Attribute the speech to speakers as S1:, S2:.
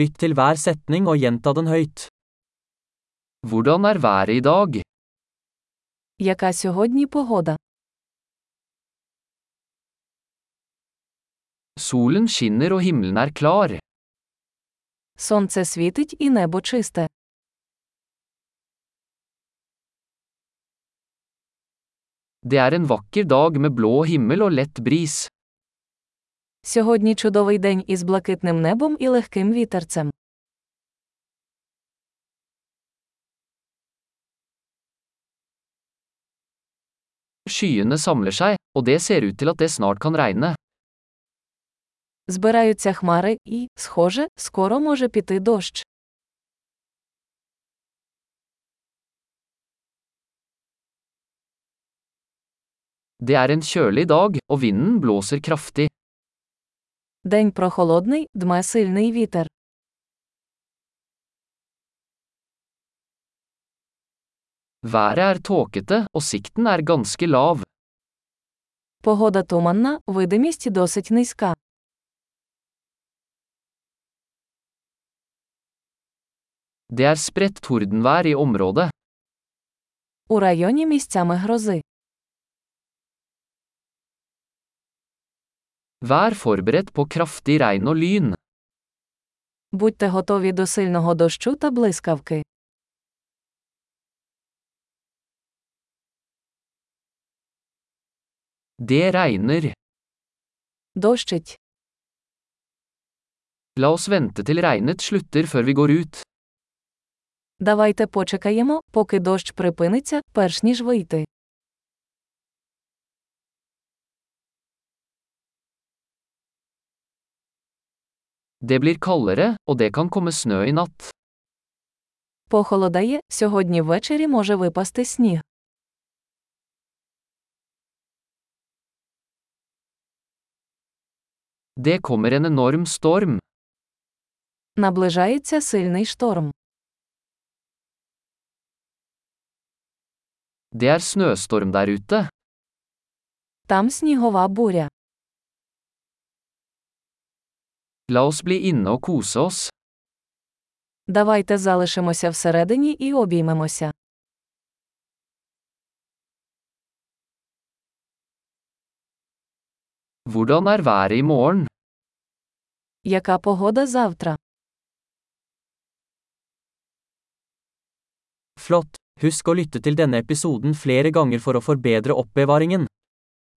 S1: Lytt til hver setning og gjenta den høyt.
S2: Hvordan er været i dag?
S3: Яка сьогодні погода?
S2: Solen skinner og himmelen er klar.
S3: Сонце світить і небо чисте.
S2: Det er en vakker dag med blå himmel og lett bris.
S3: Сьогодні чудовий день із блакитним небом і легким вітерцем.
S2: Skyene samler seg, og det ser ut til at det snart kan regne.
S3: Збираються хмари і, схоже, скоро може піти дощ.
S2: Det er en kjølig dag, og vinden blåser kraftig.
S3: День прохолодний, дме сильний вітер.
S2: Været er tåkete, og sikten er ganske lav.
S3: Погода туманна, видимість досить низька.
S2: Det er spredt tordenvær i området.
S3: У районі місцями грози.
S2: Vær forberedt på kraftig regn og lyn.
S3: Будьте готові до сильного дощу та блискавки.
S2: Det regner.
S3: Дощить.
S2: La oss vente til regnet slutter før vi går ut.
S3: Давайте почекаємо, поки дощ припиниться, перш ніж вийти.
S2: Det blir kaldere, og det kan komme snø i natt.
S3: Похолодає, сьогодні ввечері може випасти сніг.
S2: Det kommer en enorm storm.
S3: Наближається сильний шторм.
S2: Det er snøstorm der ute.
S3: Там снігова буря.
S2: La oss bli inne og kose oss.
S3: Давайте залишимося всередині і обіймемося.
S2: Hvordan er været i morgen?
S3: Яка погода завтра?
S1: Flott! Husk å lytte til denne episoden flere ganger for å forbedre oppbevaringen.